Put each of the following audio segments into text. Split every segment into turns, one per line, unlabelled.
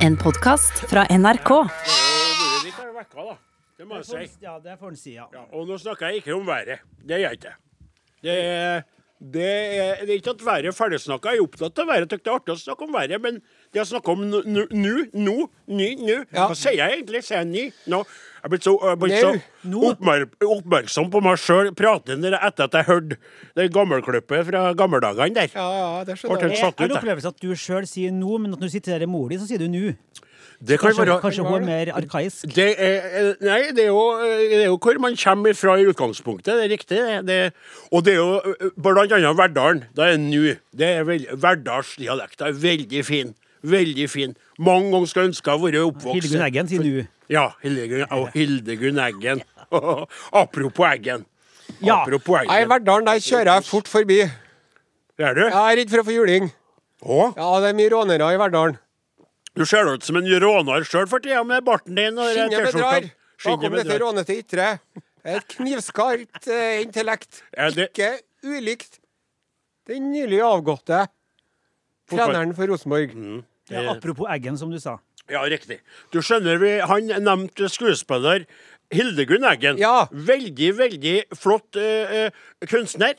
En podkast fra NRK.
Moren min har vekka, da. Det må jeg si.
Ja, det får en si, ja.
Ja, og nå snakker jeg ikke om været. Det gjør jeg ikke. Det er, det er, det er ikke at været er ferdigsnakka. Jeg er opptatt av været. Jeg synes det er artig å snakke om været, men det jeg snakker om nå, nå, nå, ny, nå
Ja.
Hva sier jeg egentlig? Sier jeg ny? Nå. Jeg er blitt så, jeg er blitt så
Nå.
Nå.
oppmer, oppmerksom på meg sjøl pratende etter at jeg hørte det gammelklippet fra gammeldagene der.
Ja, ja, det
Ble
skjønner
helt
jeg.
Jeg
satt
har
ut,
en
jeg.
opplevelse at du sjøl sier nå, men at når du siterer mor di, så sier du nå.
Det kan
Kanskje,
være
kanskje hun er mer arkaisk.
Det er, eh, nei, det er, jo, eh, det er jo hvor man kommer fra i utgangspunktet. Det er riktig. Det, det, og det er jo ø, blant annet Verdalen. Da er det nå. Det er veld- Verdalsdialekta er veldig fin. Veldig fin. Mange ganger skulle jeg ønske jeg vært oppvokst
Hildegunn Eggen sier nå.
Ja. Hildegunn, og Hildegunn Eggen. Apropos Eggen.
Ja.
Apropos
Nei, i
Eggen.
Verdalen der kjører jeg fort forbi.
Er du?
Jeg er redd for å få juling.
Å,
Ja, det er mye rånere i Verdalen.
Du ser ut som en råner sjøl for tida med barten din og den
Skinnet bedrar.
T-skjorta. Skinnet
Bakom dette
bedrar.
rånete ytre. Et knivskarpt eh, intellekt.
Er det-
Ikke ulikt den nylig avgåtte
Fotball- Mm.
treneren for Rosenborg.
Ja, apropos Eggen, som du sa.
Ja, riktig. Du skjønner, vi, han nevnte skuespiller Hildegunn Eggen.
Ja.
Veldig, veldig flott eh, eh, kunstner.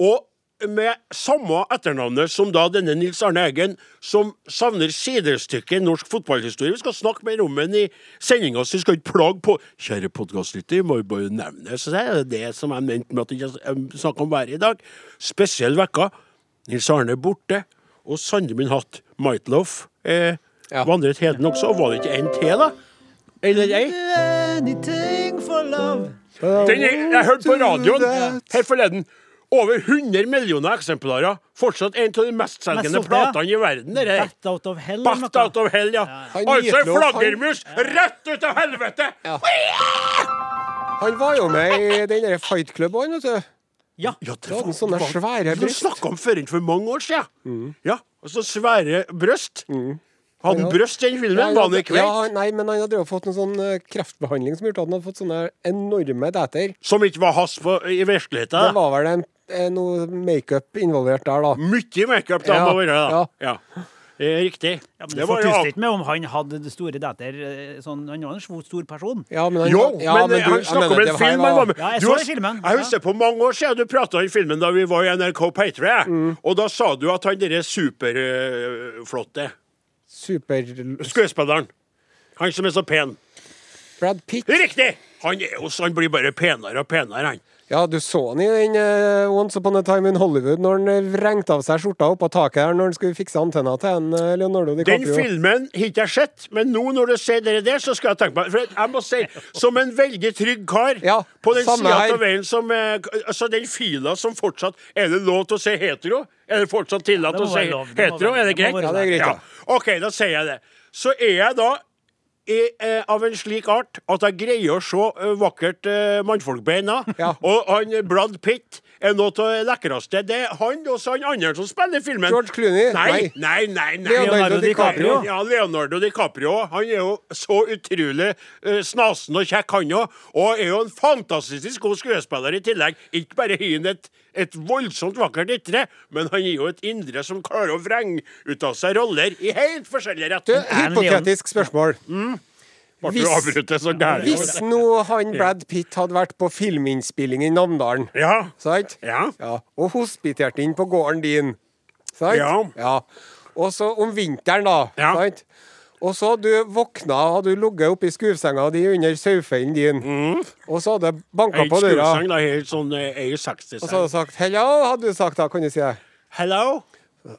Og med samme etternavnet som da denne Nils Arne Eggen, som savner sidestykket i norsk fotballhistorie. Vi skal snakke mer om ham i sendinga, så vi skal ikke plage på Kjære podkastlytter, må jo bare nevne så det er det som jeg mente med at jeg ikke snakker om været i dag. Spesiell vekka. Nils Arne er borte, og sannelig min hatt, Mightloff, eh,
Ja.
vandret heden også. Og var det ikke en til, da? Eller ei?
Anything for love.
Den er, jeg hørte på radioen her forleden. Over 100 millioner eksemplarer. Fortsatt en av de
Mest
mestselgende
solgte, ja.
platene i verden. Det der.
Bat out of hell. eller
Bat
noe.
out of hell, ja.
Han
Altså en
Gytlov, han-
flaggermus rett ut av helvete!
Ja. Han var jo med i den der Fight Club òg, vet du.
Ja,
Ja.
det
Da hadde
var
han sånne sånn svære Mm.
Vi
bryst.
snakka om førren for mange år siden. Ja, og så svære bryst. Hadde han brøst i den filmen?
Nei,
Var han i
Mm. ja,
kveld?
han- nei, men han hadde jo fått en sånn eh, kreftbehandling som gjorde at han hadde fått sånne enorme dæter.
Som ikke var hans på, i
Det
virkeligheten. da.
var vel en, eh, noe makeup involvert der, da.
Mye makeup da må
Ja,
være, da. Ja. Eh, Riktig.
Ja, men
det
det
var
fortuster
jo
ikke med om han hadde store datter. eh, Sånn, han var en stor, stor person.
Ja, men han,
Jo,
ja,
men, eh,
du-
han
jeg
snakker om
mener,
en
det her
film han var med
Ja, jeg
Du
så
har-
den filmen.
Jeg husker på mange år siden du prata om filmen da vi var i NRK P3. Og da sa du at han derre superflotte
Super
skuespilleren Han som er så pen.
Brad Pitt.
Riktig! Han er jo så Han blir bare penere og penere, han.
Ja, du så han i den eh, Once Upon a Time in Hollywood når han eh, vrengte av seg skjorta oppå taket her når han skulle fikse antenna til en eh, Leonardo
Den
DiCaprio.
filmen har ikke jeg sett, men nå når du sier det der, så skal jeg tenke meg For jeg må si, som en veldig trygg kar
Ja,
på den
samme
sida
her.
av veien som eh, Altså, den fila som fortsatt Er det lov til å si hetero? Er det fortsatt tillatt
Ja, det må
å si
være lov. Det må
hetero?
være-
Er det
det må
greit?
være
Ja, det er greit, ja.
OK, da sier jeg det. Så er jeg da er, eh, av en slik art at jeg greier å se eh, vakkert eh, mannfolkbeina.
Ja.
Og han eh, Brad Pitt er noe av det lekreste. Det er han og så han andre som spiller i filmen.
George Clooney?
Nei,
Nei.
nei, nei. nei.
Leonardo
Leonardo DiCaprio.
DiCaprio.
Ja, Leonardo DiCaprio han er jo så utrolig eh, snasen og kjekk, han òg. Og er jo en fantastisk god skuespiller i tillegg. Ikke bare har han et, et voldsomt vakkert ytre, men han er jo et indre som klarer å vrenge ut av seg roller i helt forskjellige
Du,
retninger.
men
hypotetisk spørsmål.
Mm. Ble du
hvis-
avbrutt så gærent?
Hvis nå han Brad Pitt hadde vært på filminnspilling i Namdalen,
Ja.
sant?
Ja.
og hospiterte inn på gården din, sant?
Ja.
Og så om vinteren, da,
Ja.
sant? Og så hadde du våkna, hadde du ligget oppi skuvsenga di under sauefellen din, og så hadde det banka
Helt
på døra,
skuesang, Mm. da. Helt sånn
og så hadde
EU60-sang.
du sagt 'hello', hadde du sagt da, kan du si det.
Hello?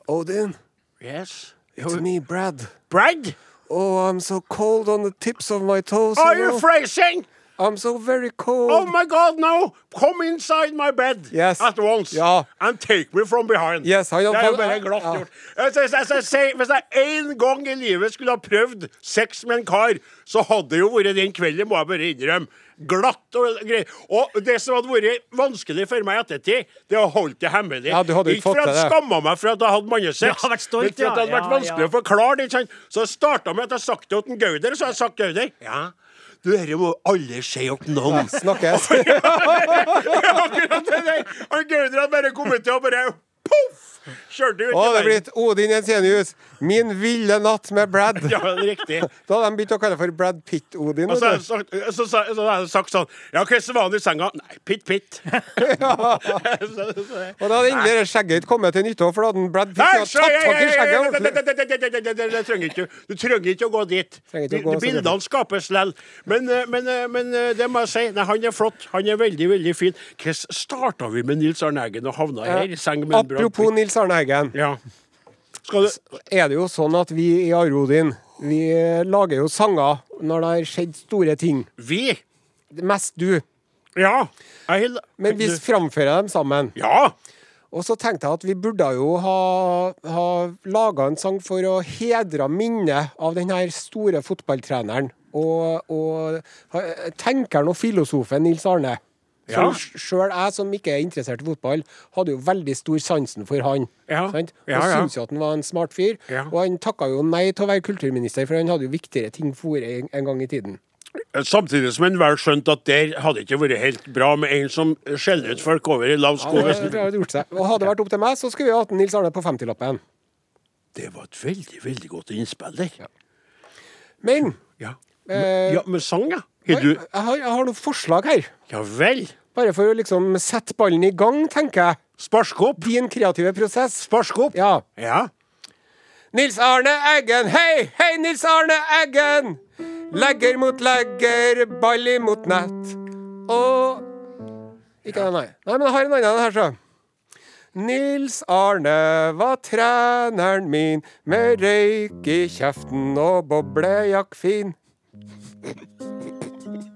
Odin,
Yes?
it's me, Brad.
Brad?
Oh, I'm so cold on the tips of my toes.
Are
you
you
know.
freezing?
I'm so very cold.
Oh my God, no! Come inside my bed
Yes.
at once
Ja.
and take me from behind.
Yes, han har
det er jo
fått-
bare glatt
ja.
gjort. Jeg synes- jeg synes- jeg- hvis jeg én gang i livet skulle ha prøvd sex med en kar, så hadde det jo vært den kvelden, må jeg bare innrømme. Glatt og greit. Og det som hadde vært vanskelig for meg i ettertid, det å holde det hemmelig.
Ja, du hadde jo ikke
for
fått
at
til
jeg
det.
skamma meg for at jeg hadde mannesex,
Du har vært stolt,
men for at det hadde
ja,
vært
ja,
vanskelig
ja.
å forklare det. ikke sant? Så jeg starta med at jeg sagt det til Gauder, så har jeg sagt til Gauder Ja, du, dette må aldri skje til noen.
Snakkes.
Oh, Akkurat det der. Han Gauder hadde bare kommet til og bare poff! Kjørte ut
Å, det
i
er blitt Odin Jensenius. 'Min ville natt med Brad'.
Ja, riktig.
Da hadde de begynt å kalle for Brad Pitt-Odin.
Og så har jeg sagt, så, sa- så har jeg sagt sånn Ja, hva som var han i senga? Nei, pitt, pitt. så, så,
Og da hadde endelig det skjegget kommet til nytte, for da hadde Brad Pitt
Nei,
tatt
så- ja, ja,
tak i
ja,
skjegget
ja, det-
ordentlig.
det- det- det- det- det- det- det- det trenger ikke- Du trenger ikke å gå dit.
Trenger ikke
Bi-
å gå så
Bildene skapes lell. Men, eh, men, eh, men eh, det må jeg si, nei, han er flott. Han er veldig, veldig fin. Hvordan starta vi med Nils Arne Eggen og havna her i seng med en Brad Pitt?
Apropos Nils Arne Eggen,
ja. Skal du
er det jo sånn at vi i Are Odin vi eh, lager jo sanger når det har skjedd store ting.
Vi?
Mest du.
Ja. Jeg hel-
Men vi framfører dem sammen.
Ja!
Og så tenkte jeg at vi burde jo ha, ha laga en sang for å hedre minnet av den her store fotballtreneren og, og ha- tenkeren og filosofen Nils Arne.
Ja.
Som sj- Sjøl jeg som ikke er interessert i fotball, hadde jo veldig stor sansen for han.
Ja.
Sant? Og
Ja, ja.
syntes jo at han var en smart fyr.
Ja.
Og han takka jo nei til å være kulturminister, for han hadde jo viktigere ting for en, en gang i tiden.
Samtidig som en vel skjønte at der hadde ikke vært helt bra med en som skjeller ut folk over i lav sko.
Og,
hvis-
hadde gjort seg. og hadde det vært opp til meg, så skulle vi hatt Nils Arne på 50-lappen.
Det var et veldig, veldig godt innspill der. Ja.
Men
Ja.
Eh,
ja, men sang, ja.
jeg,
Har du
jeg, har, jeg har noen forslag her.
Ja vel.
Bare for å liksom sette ballen i gang, tenker jeg.
Sparske opp.
Din kreative prosess.
Sparske opp.
Ja.
Ja.
Nils Arne Eggen, hei, hei, Nils Arne Eggen! Legger mot legger, ball imot nett. Og Ikke den, nei. Nei, men jeg har en annen her, så. Nils Arne var treneren min, med røyk i kjeften og boblejakk fin.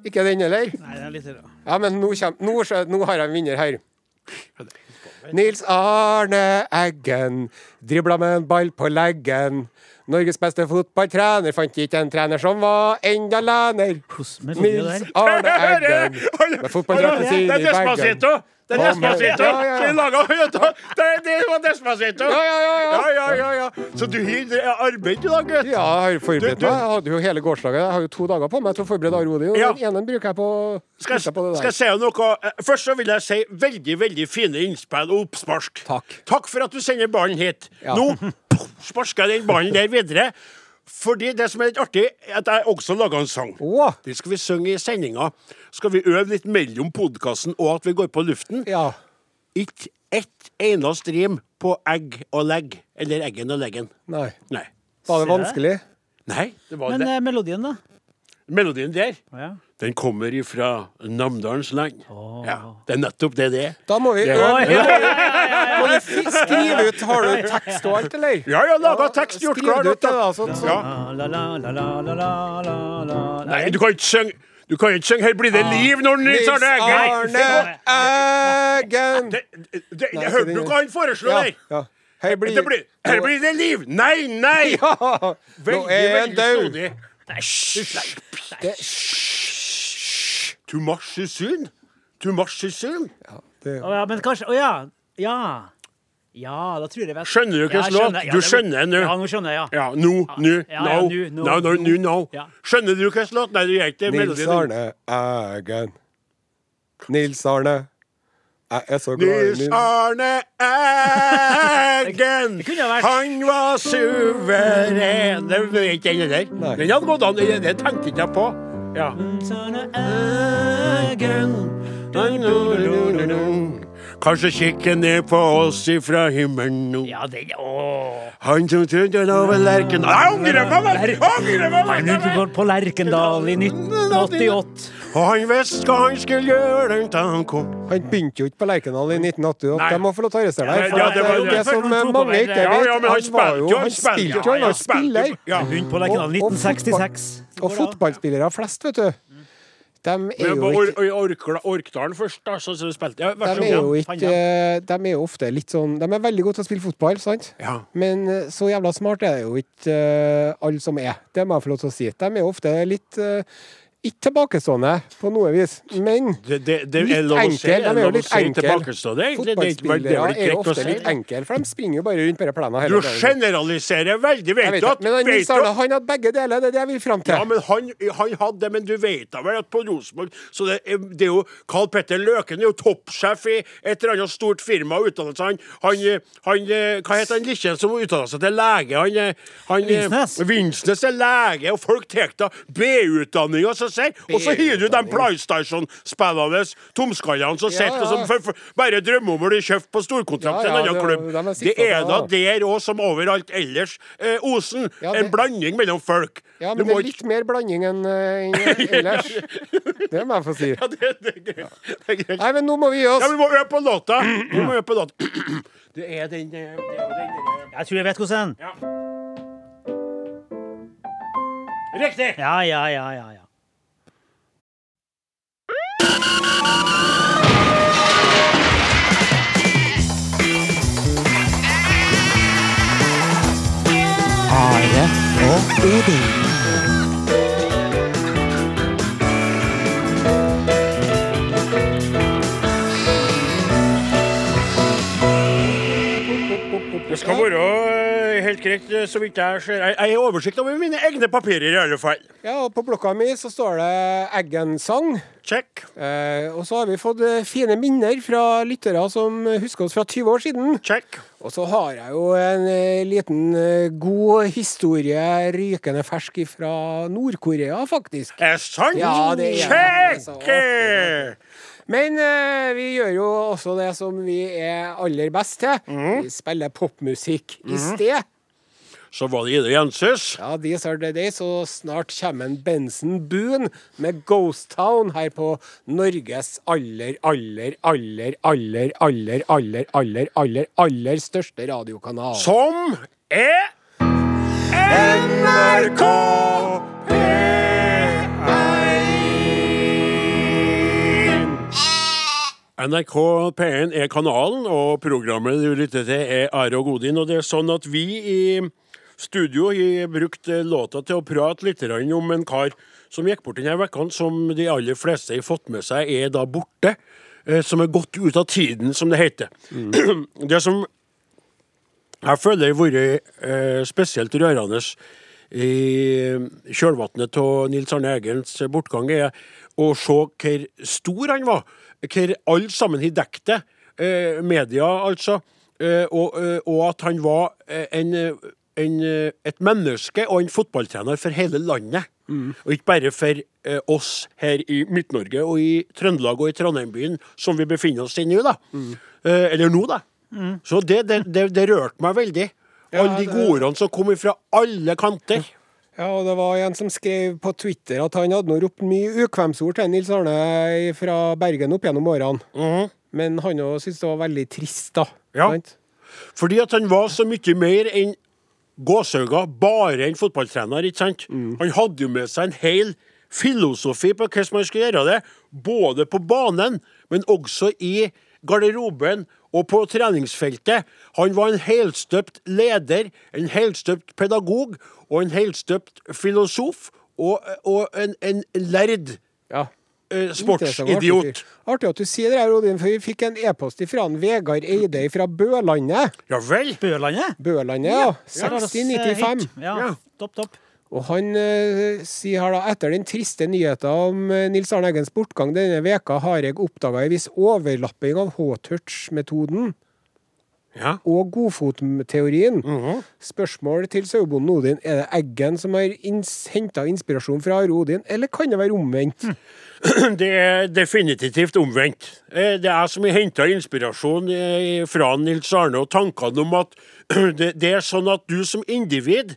Ikke den heller?
Nei, det er litt rart.
Ja, men nå, kjem, nå, skjø- nå har jeg en vinner her. Nils Arne Eggen dribla med en ball på leggen. Norges beste fotballtrener fant ikke en trener som var enda lener.
Hvordan melodi det
Nils
der?
Arne
Hører
Eggen
du? Hører du?
med fotballdrakten
Hører du?
sin
Det
i
er Despacito!
Bergen.
Det er
Å, men-
Despacito!
Ja, ja, ja.
Så de laget- vet du, det- Det var Despacito!
Ja, ja, ja, ja.
Ja, ja, ja, ja. Så du har arbeid i dag, gutt?
Ja, jeg har forberedt
Du- du-
meg. Jeg hadde jo hele gårsdagen. Jeg har jo to dager på meg til å forberede Arodi, og
Ja.
den ene bruker jeg på å
Skal,
bruker jeg på det
skal jeg si
der.
noe? Eh, Først så vil jeg si veldig veldig fine innspill og oppspark.
Takk.
Takk for at du sender ballen hit.
Ja.
Nå poff, sparker jeg den ballen der videre. Fordi det som er litt artig, er at jeg også laga en sang.
Å.
Det skal vi synge i sendinga. Skal vi øve litt mellom podkasten og at vi går på luften?
Ja.
Ikke ett eneste rim på egg og legg. Eller eggen og leggen.
Nei.
Nei.
Var
Se
det vanskelig?
Nei, det var
Men
det.
eh, melodien, da?
Melodien der,
Å, ja.
den kommer ifra Namdalens land. Ja, det er nettopp det det er.
Da må vi
Det-
øve. Må du fi- skrive ut Har du tekst og alt, eller?
Ja, ja, laga tekst, gjort
Skriv
klar.
det ut,
dette.
da, sånn- sånn.
Ja.
Ah, La, la, la, la, la, la, la, la.
Nei, du kan ikke synge Du kan ikke synge 'Her blir det liv' når Nils Arne Eggen
Nils Arne Eggen.
Det- det- det-
Nei,
det-
ikke
Hørte
det.
du hva han foreslo
Ja,
der?
ja. Her blir,
Det blir, her blir det liv! Nei, nei!
Nå
Veldig,
er han
veldig
død.
snodig. Nei, hysj!
Det-
Tu marsjer sun. Tu marsjer sun.
Å, ja, men kanskje Å ja. Ja. Ja, da tror jeg vet
Skjønner du hvilken
Ja, jeg
låt?
skjønner. Ja,
Du
det vet-
skjønner nå.
Ja, nå skjønner jeg, ja.
Ja, nå, nå,
Ja, ja,
now.
nå, nå,
Now, now,
nå.
nå, now.
Ja.
Skjønner du hvilken låt? Nei, du gjør ikke det.
Nils
melodien.
Arne Eggen. Nils Arne. Jeg er så glad i
Nils
Nils
Arne Eggen.
Det kunne ha vært.
Han var suveren Det vet jeg ikke den der.
Nei.
Den hadde gått an. Det det tenkte ikke jeg på. Ja.
Sånne egen
Kanskje kikker ned på oss ifra himmelen nå.
Ja, den Åh.
Han som trodde han over lerken Jeg angrer på meg! Jeg angrer på meg!
Men du går på Lerkendal i 1988.
Og han visste hva han skulle gjøre da han kom.
Han begynte jo ikke på Lerkendal i 1988.
Nei.
De må få lov til å arrestere deg. For
Ja, det
at det,
var
er jo
det.
det som
Først
mange
tok
ikke
over.
vet.
Ja, ja, men han
var
spilte jo.
Han spilte jo, han var spiller.
Ja.
Begynte på Lerkendal i
Og- og fotball-
1966.
Og fotballspillere flest, vet du. De er
Men
jo
på
ikke
or or Orkla- Orkdalen først, da, så, så spilte ja, vær så
De er
god.
jo
Fanja.
ikke eh, De er jo ofte litt sånn De er veldig gode til å spille fotball, sant?
Ja.
Men eh, så jævla smart er det jo ikke eh, alle som er. Det må jeg få lov til å si. De er jo ofte litt eh, Ikke tilbakestående på noe vis, men
Det, det, det er
Litt
lov å si.
enkel,
er
de er jo
lov å
litt
si
enkel.
tilbakestående, egentlig. Det er ikke- det er
fotballspillere
vel
er
ikke
jo
greit å
ofte
si.
litt enkle, for de springer jo bare rundt på denne plenen
Du
hele dagen.
generaliserer veldig,
Jeg
vet
vet
du
ikke,
at
men han
vet
Nils
du
Arne
at-
han hadde begge deler, det er det jeg vil fram til.
ja, men han, han hadde det, men du vet da vel at på Rosenborg Så det, er- det er jo Karl Petter Løken er jo toppsjef i et eller annet stort firma og utdannet seg. Han, han, eh, han eh, Hva heter han Likkjen som utdanna seg til lege? Han, eh, han eh,
Vinsnes.
Vinsnes er lege, og folk tar da B-utdanninga som sier Og så hyrer du de PlayStation-spillende tomskallene som sitter og som
ja.
for, for, bare drømmer om å bli kjøpt på storkontrakt til
Ja,
en
ja,
annen
det-
klubb.
de er sikta
Det er
på
da
det,
der òg, som overalt ellers. Eh, Osen,
Ja,
en
det-
blanding mellom folk.
Ja,
Du
men det
må
er
ikke
litt mer blanding enn eh, enn ellers. Det må jeg få si.
ja, det, det er greit. Det er greit.
Nei, men nå må vi gi
Ja, vi
oss.
må øve på låta! Vi må øve på låta. Det er den, eh, det er den, den
Jeg tror jeg vet hvordan.
Ja. eh, Riktig!
Ja, ja, ja, ja. ja.
Det skal være eh, helt greit, eh, så vidt jeg ser. Jeg jeg har oversikt over mine egne papirer, i alle fall.
Ja, og på blokka mi så står det Eggen-sang.
Check,
Eh, og så har vi fått eh, fine minner fra lyttere som husker oss fra 20 år siden.
check.
Og så har jeg jo en eh, liten eh, god historie rykende fersk fra Nord-Korea, faktisk.
Er sant?
Ja, det er-
check!
Men eh, vi gjør jo også det som vi er aller best til. Vi spiller popmusikk i sted.
Så var det Ida Jenses.
Ja, These Are The Days, og snart kommer en Benson Boone med Ghost Town her på Norges aller, aller, aller, aller, aller, aller, aller, aller, aller største radiokanal.
Som er NRK P1. NRK P1 er kanalen, og programmet du lytter til, er Are og Godin. Og det er sånn at vi i studio har brukt eh, låta til å prate litt grann om en kar som gikk bort denne uka, som de aller fleste har fått med seg er da borte. eh, Som er gått ut av tiden, som det heter. Det som jeg føler det har vært eh, spesielt rørende i kjølvannet av Nils Arne Eggens bortgang, er å se hvor stor han var. Hvor alle sammen har dekket det. Eh, media, altså. Eh, og, eh, og at han var eh, en, eh, en, eh, et menneske og en fotballtrener for hele landet. Og ikke bare for eh, oss her i Midt-Norge og i Trøndelag og i Trondheim-byen, som vi befinner oss i nå, da. Eh, eller nå, da. Så det, det, det, det rørte meg veldig. alle de
det-
godordene som kom fra alle kanter.
Ja, og det var en som skrev på Twitter at han hadde nå ropt mye ukvemsord til Nils Arne fra Bergen opp gjennom årene. Men han òg syntes det var veldig trist, da.
Mhm. Ja.
Sant?
Fordi at han var så mye mer enn gåsauga, bare en fotballtrener, ikke sant? Han hadde jo med seg en hel filosofi på hvordan man skulle gjøre det, både på banen, men også i garderoben og på treningsfeltet. Han var en helstøpt leder, en helstøpt pedagog og en helstøpt filosof og, og en, en lærd
ja.
eh,
Artig,
sportsidiot.
fyr. artig at du sier det, her, Odin, for vi fikk en e-post fra han Vegard Eide fra Bølandet.
Ja vel?
Bølandet?
Bølandet, ja.
Der har vi oss, eh,
6095.
hit. Ja,
Ja.
topp, topp.
Og han eh, sier her da etter den triste nyheten om eh, Nils Arne Eggens bortgang denne veka har jeg oppdaga en viss overlapping av H-touch-metoden
Ja.
og godfotteorien. Spørsmål til sauebonden Odin. Er det Eggen som har ins henta inspirasjon fra Are Odin, eller kan det være omvendt?
Det er definitivt omvendt. Eh, Det er jeg som har henta inspirasjon eh, fra Nils Arne og tankene om at det, det er sånn at du som individ,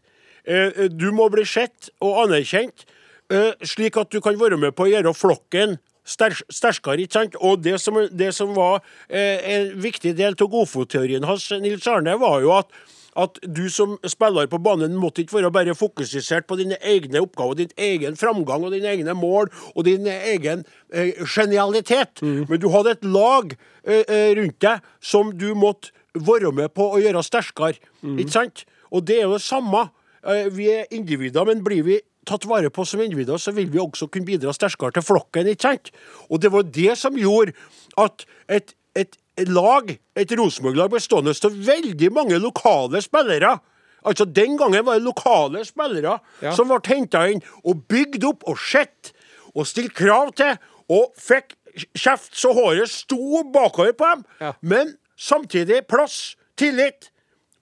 eh, du må bli sett og anerkjent, eh, slik at du kan være med på å gjøre flokken ster- sterkere, ikke sant? Og det som, det som var eh, en viktig del av godfotteorien hans, Nils Arne, var jo at at du som spiller på banen måtte ikke være bare fokusert på dine egne oppgaver, din egen framgang og dine egne mål og din egen eh, genialitet. Men du hadde et lag eh, eh, rundt deg som du måtte være med på å gjøre sterkere. Ikke sant? Og det er jo det samme. eh, vi er individer, men blir vi tatt vare på som individer, så vil vi også kunne bidra sterkere til flokken, ikke sant? Og det var det som gjorde at et, et lag, et Rosenborg-lag bestående av veldig mange lokale spillere Altså, Den gangen var det lokale spillere
Ja.
som ble henta inn og bygd opp og sett og stilt krav til, og fikk kjeft så håret sto bakover på dem.
Ja.
Men samtidig plass, tillit.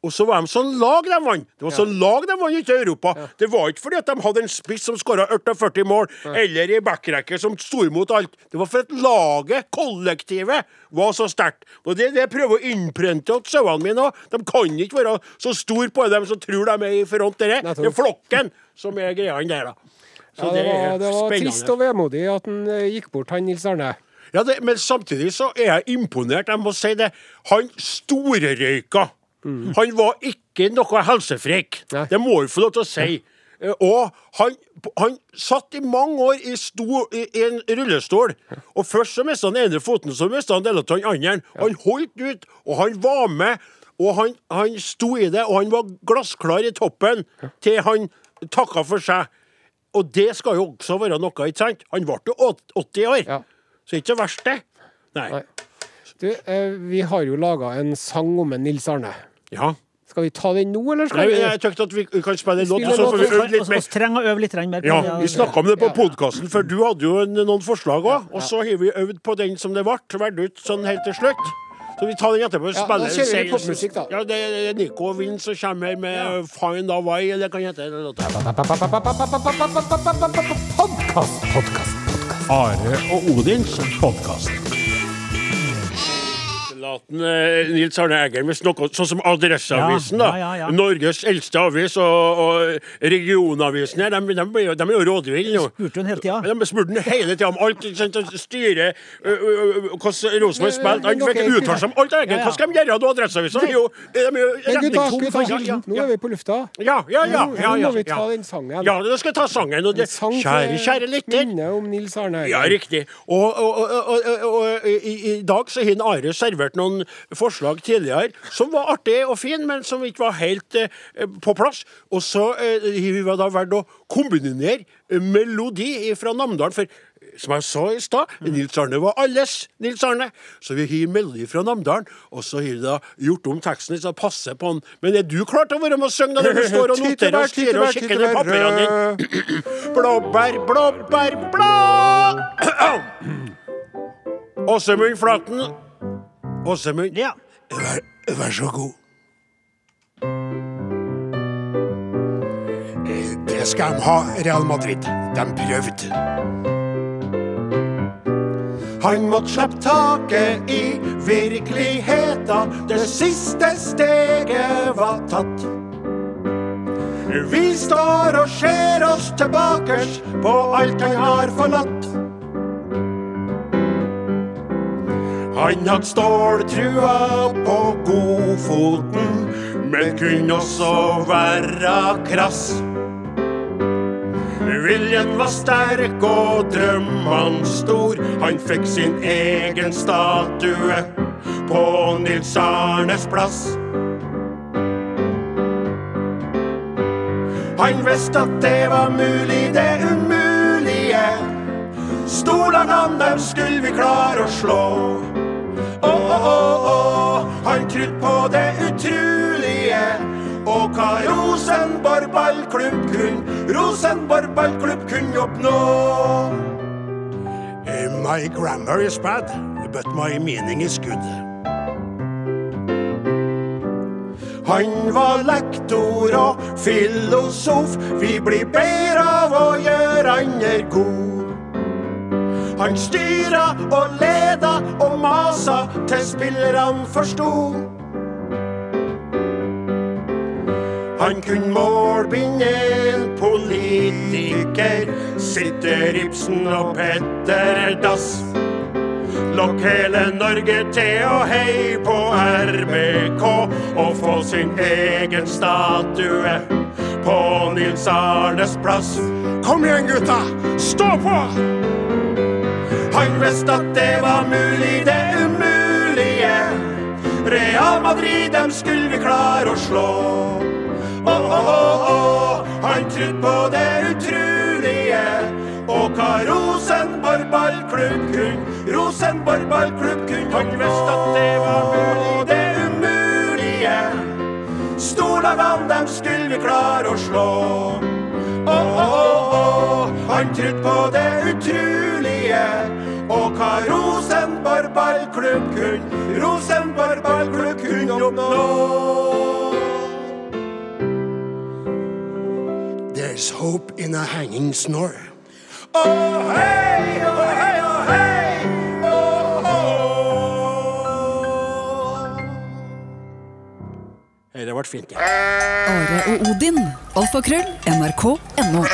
Og så var de sånn lag de vant. Det var sånn lag de vant ute i Europa. Det var ikke fordi at de hadde en spiss som skåra 48 mål, eller ei backrekke som sto imot alt. Det var for at laget, kollektivet, var så sterkt. Og det er det jeg prøver å innprente hos sauene mine òg. De kan ikke være så store på dem som tror de er i front. Det er
Nettopp.
det er flokken som er greia der, da. Så
Ja, det, var, det var trist og vemodig at han eh, gikk bort, han Nils Arne.
Ja, det, men samtidig så er jeg imponert. Jeg må si det. Han storrøyka. Han var ikke noe helsefreak.
Nei.
Det må vi få lov til å si. Eh, Og han, han satt i mange år i, sto, i i en rullestol. Og først så mista han ene foten, så mista han deler av den andre. Han holdt ut, og han var med. Og han, han sto i det, og han var glassklar i toppen til han takka for seg. Og det skal jo også være noe, ikke sant? Han ble jo åt- 80 år.
Ja.
Så ikke så verst, det. Nei.
Nei. Du, eh, vi har jo laga en sang om en Nils Arne.
Ja.
Skal vi ta den nå, eller
Nei,
skal vi
jeg tenkte at vi kan spille en låt,
spiller
og så
en
får vi
låt,
øve
Vi
litt mer.
trenger å øve litt mer på
Ja,
det,
Vi snakka om det på
Ja.
podkasten, for du hadde jo en- noen forslag òg. Og så har vi øvd på den som det ble, valgt ut sånn helt til slutt. Så vi tar den etterpå.
Ja, da kjører vi popmusikk, da.
Ja, det er Nico Wind som kommer her med 'Find a Way', eller hva heter den låta? Are og Odins podkast. eh, Nils Arne Eggen med noe sånn som Adresseavisen, da.
Ja, ja, ja, ja.
Norges eldste avis, og, og regionavisen her, de, de, blir jo- de er jo rådville nå.
Spurte hun hele tida.
De spurte den hele tida om alt. ikke sant, og Styre, ø, ø, ø, hvordan Rosenborg spilte. Han fikk uttale seg om alt. Eggen.
Ja, ja.
Hva skal de gjøre da, Adresseavisen? De er jo- de er jo
Men gutta,
retningstom
skal vi ta
for- ja,
kilden?
ja,
Nå er vi på lufta.
ja, ja, ja, ja,
Nå- nå
ja,
må vi ta
ja.
den sangen.
Ja, nå skal jeg ta sangen. Og det,
En sang til
kjære, kjære lytter.
Minne om Nils Arne.
Ja, riktig. Og, og, og, og, og, og i, i dag så har Are servert noen forslag tidligere som var artige og fine, men som ikke var helt eh, på plass. Og så eh, har vi da valgt å kombinere melodi fra Namdalen. for eh, som jeg sa i stad, Nils Arne var alles Nils Arne. Så vi har melodi fra Namdalen, og så har vi da gjort om teksten så passer på den. Men er du klar til å være med og synge da når du står og noterer og styrer og kikker ned i papirene dine? Blåbær, blåbær, blå! Åsemund Flaten. Åsemund,
Ja.
vær, vær så god. Eh, Det skal de ha, Real Madrid. De prøvde. Han måtte slippe taket i virkeligheta. Det siste steget var tatt. Vi står og ser oss tilbakers på alt han har forlatt. Han hadde ståltrua på godfoten, men kunne også være krass. Viljen var sterk og drømmene stor. Han fikk sin egen statue på Nils Arnes plass. Han visste at det var mulig, det umulige. Stolene, dem skulle vi klare å slå. Å, å, å, å. Han trodde på det utrolige. Og hva Rosenborg ballklubb kunne, Rosenborg ballklubb kunne oppnå. Eh, My grammar is bad, but my meaning is good. Han var lektor og filosof. Vi blir bedre av å gjøre andre god. Han styra og leda og masa til spillerne forsto. Han kunne målbinde en politiker. Sitter Ibsen og Petter Dass. Lokk hele Norge til å heie på RBK og få sin egen statue på Nils Arnes plass. Kom igjen, gutta! Stå på! Han visste at det var mulig, det umulige. Real Madrid, dem skulle vi klare å slå. Å, Å-å-å-å, han trodde på det utrolige. Og hva Rosenborg ballklubb kunne, Rosenborg ballklubb kunne. Han visste at det var mulig, det umulige. Storlagene dem skulle vi klare å slå. Å-å-å, han trodde på det utrolige. Og hva Rosenborg ballklubb kunne, Rosenborg ballklubb kunne oppnå.
There's hope in a hanging snore.
Oh, hey, oh, hey, oh, hey, oh, oh.
Dette ble fint. ja.
Are og Odin. Alfakrøll. NRK.no.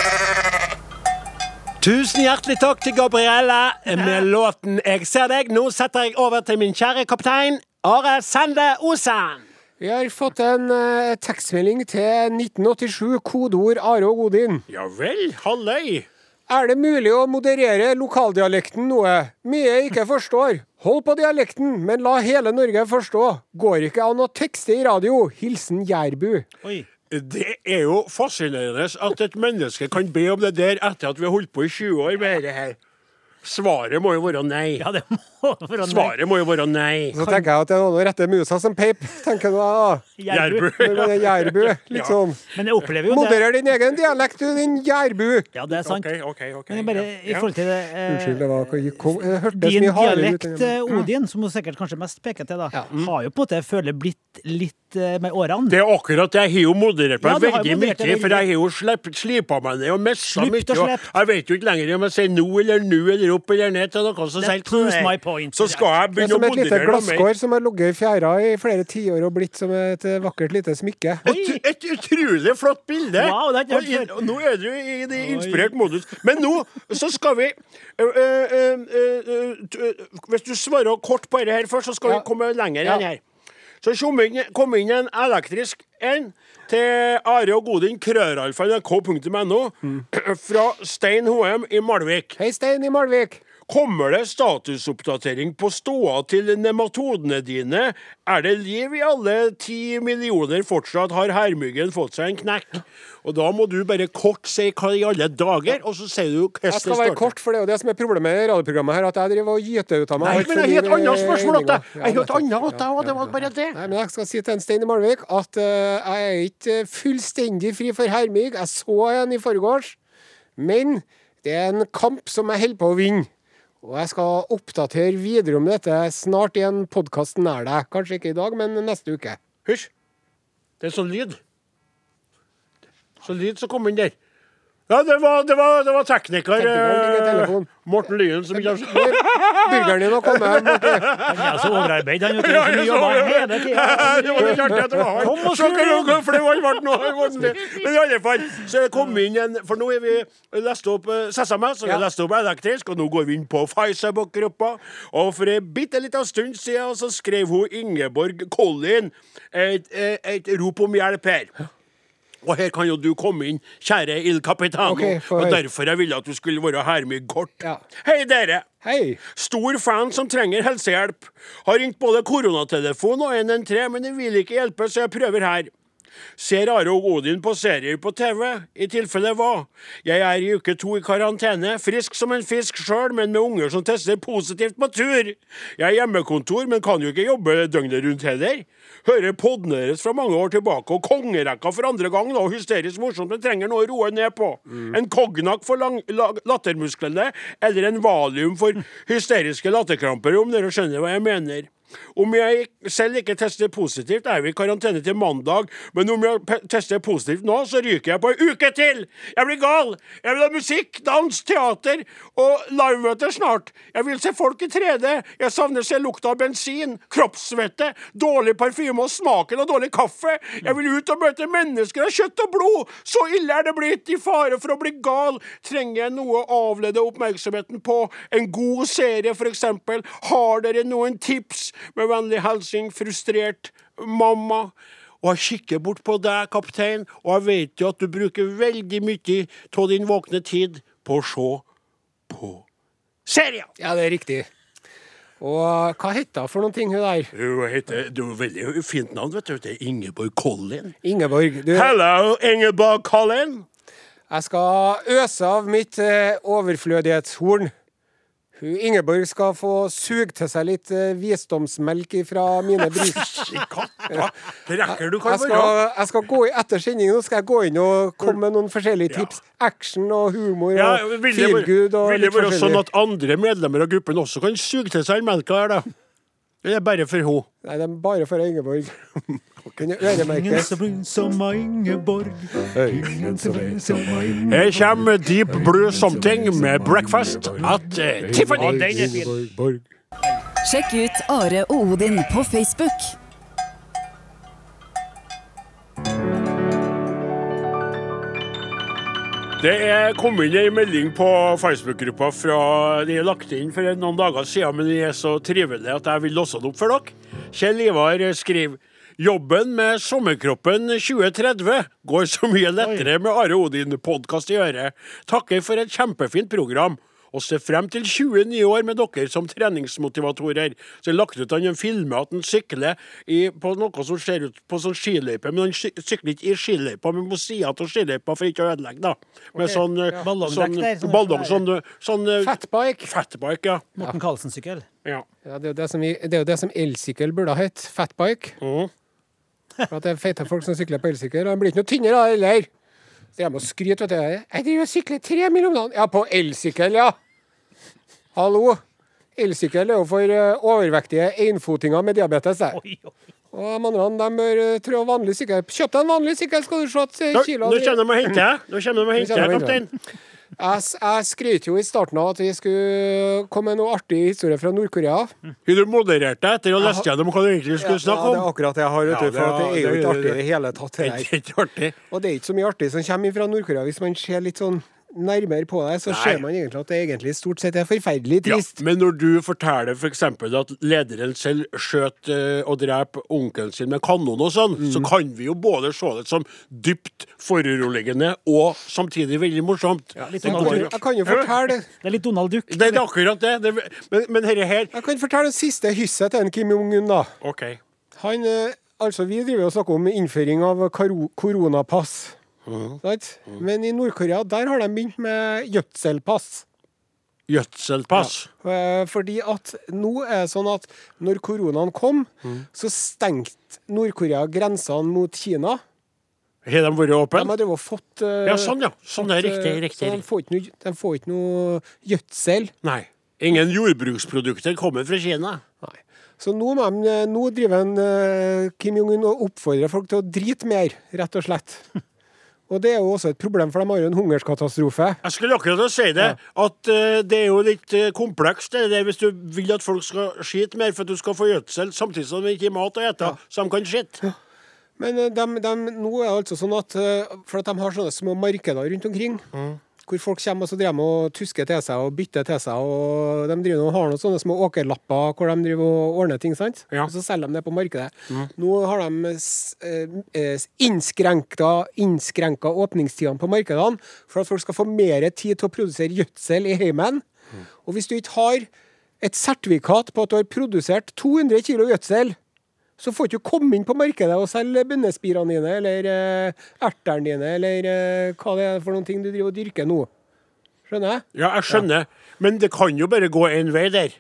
Tusen hjertelig takk til Gabrielle med låten 'Jeg ser deg'. Nå setter jeg over til min kjære kaptein Are Sende Osen.
Vi har fått en eh, tekstmelding til 1987, kodeord Are og Odin.
Ja vel, halløy.
Er det mulig å moderere lokaldialekten noe? Mye jeg ikke forstår. Hold på dialekten, men la hele Norge forstå. Går ikke an å tekste i radio. Hilsen Jærbu.
Oi.
Det er jo fascinerende at et menneske kan be om det der etter at vi har holdt på i 20 år med dette her. Svaret må jo være nei.
Ja, det må være
Svaret må jo være nei.
Så tenker jeg at det er noen rette musa som peip, tenker du da.
Jærbu.
Når man er Jærbu, liksom.
Men jeg opplever jo det.
Moderer din egen dialekt, du, din Jærbu.
Ja, det er sant.
OK, OK. ok.
Men jeg bare i
Ja.
forhold til det eh,
Unnskyld, det var kom, det hørtes
Din
mye hardere ut.
dialekt, eh, Odin, som hun sikkert kanskje mest peker til, da, har jo på en måte, jeg føler, blitt litt eh, med årene.
Det er akkurat det. Jeg har jo moderert
Ja,
meg
du har
veldig mye,
moderert deg veldig.
for jeg har jo slepp, slipa meg ned og messa mye.
Slipt og
og
slept.
Jeg vet jo ikke lenger om jeg sier no eller nu eller opp eller ned til noe som
That
sier
proves
nei.
my point.
Så skal
Det
jeg
er
begynne å
som et lite
moderere meg mer.
glasskår som har ligget i fjæra i flere tiår og blitt som et eh, vakkert lite smykke.
Et, et utrolig flott bilde.
Wow, det har jeg ikke
og,
hørt før.
i- og nå er du i det inspirert modus. Men nå så skal vi eh, ø, ø, ø, ø, ø, ø, eh, Hvis du svarer kort på dette her først, så skal
Ja.
vi komme lenger
Ja.
enn her. Så kom inn, kom inn en elektrisk en til Are og Godin, krøralfa.nrk.no, fra Stein Hoem i Malvik.
Hei, Stein i Malvik.
Kommer det statusoppdatering på ståa til nematodene dine? Er det liv i alle ti millioner fortsatt? Har hermyggen fått seg en knekk? Og da må du bare kort si hva i alle dager, og så sier du hvordan
Jeg
det
skal være
starter.
kort, for det er jo det som er problemet med radioprogrammet her, at jeg driver og gyter ut av meg.
Nei,
alt for
men jeg har et
mye
annet spørsmål til deg.
meninger.
Jeg har et
eh, Ja,
annet til
ja,
deg, og det
ja,
var
ja.
bare det.
Nei, men jeg skal si til en Stein i Malvik at eh, jeg er ikke fullstendig fri for hermig. Jeg så en i forgårs, men det er en kamp som jeg holder på å vinne. Og jeg skal oppdatere videre om dette snart i en podkast nær deg. Kanskje ikke i dag, men neste uke.
Hysj. Det er sånn lyd. Sånn lyd som kom inn der. Ja, det var, det var, det var tekniker
Teknikeren ligger i
eh,
telefonen.
Morten Lyen som ikke har
Burgeren din har kommet. Morten.
Han er så overarbeid, han. vet du, så mye jobber hele tiden.
Det var litt artig at det var han. Sjokker unge, for det var ikke verdt noe. Men i alle fall, så det kom inn en For nå er vi lest opp eh, SMS, og vi har lest opp elektrisk, og nå går vi inn på Facebook-gruppa. Og for en bitte liten stund siden så skrev hun Ingeborg Collin et, et, et rop om hjelp her. Og her kan jo du komme inn, kjære Il Capitano.
Ok, få
og
høre.
derfor jeg ville at du skulle være her med kort.
Ja.
Hei, dere!
Hei.
Stor fan som trenger helsehjelp. Har ringt både koronatelefon og 113, men det vil ikke hjelpe, så jeg prøver her. Ser Are og Odin på serier på TV? I tilfelle hva? Jeg er i uke to i karantene, frisk som en fisk sjøl, men med unger som tester positivt på tur. Jeg har hjemmekontor, men kan jo ikke jobbe døgnet rundt heller. Hører podden deres fra mange år tilbake, og kongerekka for andre gang, da, hysterisk morsomt, men trenger noe å roe ned på. En cognac for lang, la, lattermusklene, eller en valium for hysteriske latterkramper, om dere skjønner hva jeg mener. Om jeg selv ikke tester positivt, er vi i karantene til mandag, men om jeg pe- tester positivt nå, så ryker jeg på en uke til! Jeg blir gal! Jeg vil ha musikk, dans, teater og livemøter snart! Jeg vil se folk i 3D! Jeg savner å se lukta av bensin, kroppssvette, dårlig parfyme og smaken av dårlig kaffe! Jeg vil ut og møte mennesker av kjøtt og blod! Så ille er det blitt! I fare for å bli gal trenger jeg noe å avlede oppmerksomheten på. En god serie, for eksempel. Har dere noen tips? Med vennlig hilsen frustrert mamma. Og jeg kikker bort på deg, kaptein, og jeg vet jo at du bruker veldig mye av din våkne tid på å se på serier.
Ja, det er riktig. Og hva heter hun for noen ting, hun der?
Hun heter, det er jo veldig fint navn, vet du. Det er Ingeborg Collin.
Ingeborg. Du,
Hello, Ingeborg Collin.
jeg skal øse av mitt eh, overflødighetshorn. Hun Ingeborg skal få suge til seg litt eh, visdomsmelk ifra mine brus.
Katta, det rekker du kan
Jeg skal,
være.
jeg skal gå i, etter sending nå skal jeg gå inn og komme med noen forskjellige tips. Action og humor
Ja,
og
vil det være-
feelgood og
vil det
litt
være sånn
forskjellig.
at andre medlemmer av gruppen også kan suge til seg den melka her, da? Eller er det bare for henne?
Nei, det er bare for Ingeborg. Kunne
Ingen
øremerkes.
så brun som Ingeborg. Ingen så brun som Ingeborg.
Her kommer Deep Blue Something med Breakfast at eh, Tiffany.
Sjekk ut Are og Odin på Facebook.
Det er kommet inn en melding på Facebook-gruppa fra de er lagt inn for noen dager siden, men de er så trivelige at jeg vil låse den opp for dere. Kjell Ivar skriver Jobben med Sommerkroppen 2030 går så mye lettere med Are Odin-podkast i øret. Takker for et kjempefint program. Og ser frem til 20 nye år med dere som treningsmotivatorer. Så jeg har lagt ut han en filmer at han sykler i, på noe som ser ut på sånn skiløype, men han sy- sykler ikke i skiløypa, men på sida av skiløypa for ikke å ødelegge, da. Med sånn, eh,
Ballongdekk
sånn,
der, sånn-
ballong, sånn, eh, sånn eh,
Fatbike.
fatbike, ja.
Morten Karlsen-sykkel.
ja.
Ja, det er jo det som, vi- det er jo det som elsykkel burde ha hett. Fatbike.
Mhm.
For at det er feite folk som sykler på elsykkel. og De blir ikke noe tynnere av det heller. Så jeg må skryte, vet du. Jeg driver og sykler tre mil om dagen. Ja, på elsykkel, ja. Hallo. Elsykkel er jo for eh, overvektige enfotinger med diabetes. det.
Oi, oi.
Og de andre de bør eh, trå vanlig sykkel. Kjøp deg en vanlig sykkel, skal du se at eh,
Nå, nå
kiloene
kommer de og henter deg, Nå kommer de og henter deg,
Nå kommer de og
kaptein.
Jeg, s- jeg skrøt jo i starten av at vi skulle komme med noe artig historie fra Nord-Korea.
Har du moderert deg etter å ha lest gjennom hva du egentlig skulle snakke
det er
om?
akkurat det jeg har, vet
Ja,
du. For at det er jo
det-
ikke artig i
det-
det hele tatt.
Det
Det
er
her.
ikke artig.
Og det er ikke så mye artig som kommer fra Nord-Korea. Hvis man ser litt sånn nærmere på det, så ser man egentlig at det egentlig stort sett er forferdelig
Ja,
trist.
men når du forteller f.eks. at lederen selv skjøt eh, og drep onkelen sin med kanon og sånn, så kan vi jo både se det som dypt foruroligende og samtidig veldig morsomt.
litt
det,
sånn
Jeg kan, jo-
går,
jeg kan jo fortelle
Det er litt Donald Duck.
det er akkurat det. det men men herre her
Jeg kan fortelle det siste hysset til en Kim Jong-un, da.
OK.
Han, eh, altså Vi driver jo og snakker om innføring av karo- koronapass.
Mhm.
Sant? Men i Nord-Korea der har de begynt med gjødselpass.
Gjødselpass.
Eh, Fordi at nå er det sånn at når koronaen kom, så stengte Nord-Korea grensene mot Kina.
Har de vært
De
åpne?
har drevet og fått eh,
Ja, sånn, ja. Sånn er riktig.
eh,
riktig,
Så de
riktig.
får ikke noe, de får ikke noe gjødsel.
Nei. Ingen jordbruksprodukter kommer fra Kina.
Nei. Så nå, må de, nå driver en, eh, Kim Jong-un og oppfordrer folk til å drite mer, rett og slett. Og det er jo også et problem, for de har jo en hungerskatastrofe.
Jeg skulle akkurat til å si det, at eh, det er jo litt eh, komplekst det der hvis du vil at folk skal skite mer for at du skal få gjødsel, samtidig som de ikke har mat å ete, så de kan skite.
Men eh, dem- dem- nå er det altså sånn at eh, For at de har sånne små markeder rundt omkring. Hvor folk kommer og så driver de og tusker til seg og bytter til seg. og De driver og har noen sånne små åkerlapper hvor de driver og ordner ting. sant?
Ja.
Og så selger de det på markedet. Nå har de s- eh, eh, innskrenka, innskrenka åpningstidene på markedene for at folk skal få mer tid til å produsere gjødsel i heimen. Og hvis du ikke har et sertifikat på at du har produsert 200 kg gjødsel, så får ikke du komme inn på markedet og selge bønnespirene dine eller eh, ertene dine eller eh, hva det er for noen ting du driver og dyrker nå. Skjønner jeg?
Ja, jeg skjønner, men det kan jo bare gå én vei der.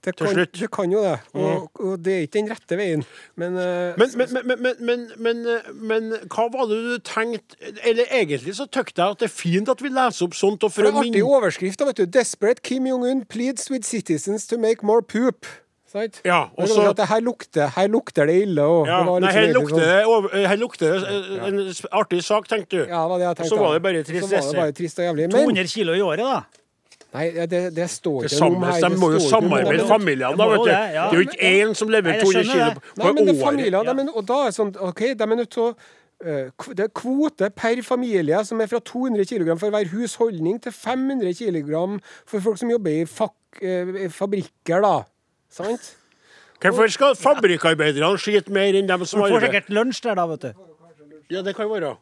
Det
Til
kan,
slutt. Mm.
det kan jo det, og, og det er ikke den rette veien. Men, eh,
Men, men, men, men, men, men, men hva var det du tenkte Eller egentlig så tykte jeg at det er fint at vi leser opp sånt og
for
for
en
å
artig
minne
overskrift, da, vet du. 'Desperate Kim Jong-un pleads with citizens to make more poop'. Sant?
Ja, og
Men det
så-
var at det her, lukter, her lukter det ille. Og
ja,
det var
nei,
liksom
her
egentlig
lukter
sånn-
det over- her lukter det eh, en sp- artig sak, tenkte du.
Ja, det var det jeg tenkte.
Så var det
da. Så
bare
var
tristesse.
det bare trist og jævlig. Men
200 kilo i året, da.
nei, det, det står
Det
ikke noe om
samles,
her.
de
det
må
står ikke noe
jo
om
samarbeide,
det.
familiene. da,
Det må
vet du.
jo
Det
det, ja.
er jo ikke én som lever
Nei, jeg
200
skjønner
kilo
det.
på-
Nei,
på
men det er
året.
familier, de er- og da er det sånn, ok, de er nødt til å eh, kv- det er kvote per familie som er fra 200 kg for hver husholdning til 500 kg for folk som jobber i fak, eh, fabrikker, da. Sant?
Hvorfor skal fabrikkarbeiderne skite mer enn dem som
Du får
arbeider?
sikkert lunsj der, da, vet du.
Ja, det kan være.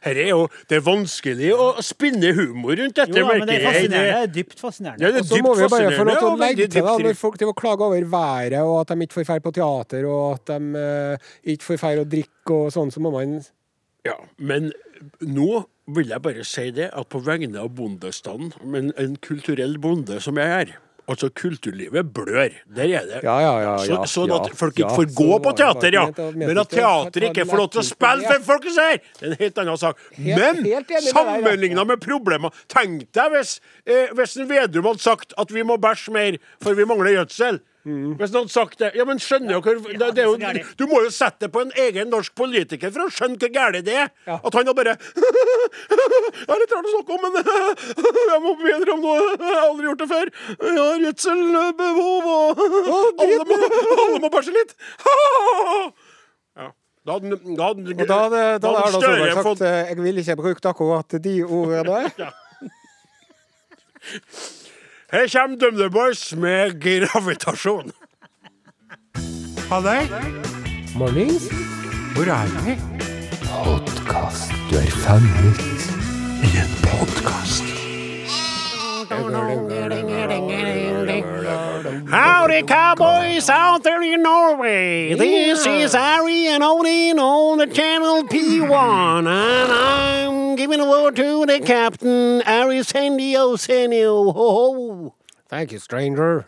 Her er jo, det er vanskelig å spinne humor rundt dette.
Jo da, men det er
merker jeg.
fascinerende. Det er dypt
Ja,
fascinerende.
det er
Og så må
dypt
vi jo bare få lov
fascinerende
til å
og
legge
veldig
til da,
dypt
når folk driver og klager over været, og at de ikke får ferd på teater, og at de eh, ikke får ferd å drikke og sånn, så må man
Ja, men nå vil jeg bare si det at på vegne av bondestanden, men en kulturell bonde som jeg er, altså kulturlivet blør. Der er det.
Ja, ja, ja, ja,
så, sånn at
ja,
folk
ja.
ikke får gå
Så
på
var det
teater, ja.
bare ment å- mente
Men at
ikke å ta
teater ikke
den
får lov til å
lærtiden,
spille
ja.
for folkens her, det er en helt annen sak. Men
helt enig med deg, ja.
sammenligna med problemer Tenk deg hvis, eh, hvis en Vedum hadde sagt at vi må bæsje mer, for vi mangler gjødsel. Hvis han hadde sagt det Ja, men skjønner dere det, det er
det er så
jo,
gærent.
du må jo sette det på en egen norsk politiker for å skjønne hvor gærent det er. At han da bare Jeg er litt rart å snakke om, men jeg må bedre om noe. Jeg har aldri gjort det før. Jeg har gjødselbehov, og alle, må, alle må bæsje litt. Ja. Da hadde, da hadde,
Og da hadde da hadde Erna
Støre
Solberg
fått-
sagt eh, Jeg vil ikke bruke akkurat de ordene der.
Her kommer Dumdum Boys med gravitasjon.
Halløy,
Mornings.
hvor er vi?
Howdy, cowboys out there in Norway. This is Harry and Odin on the channel P1, and I'm giving over to the captain, Harry Sandio Senio. Ho, ho.
Thank you, stranger.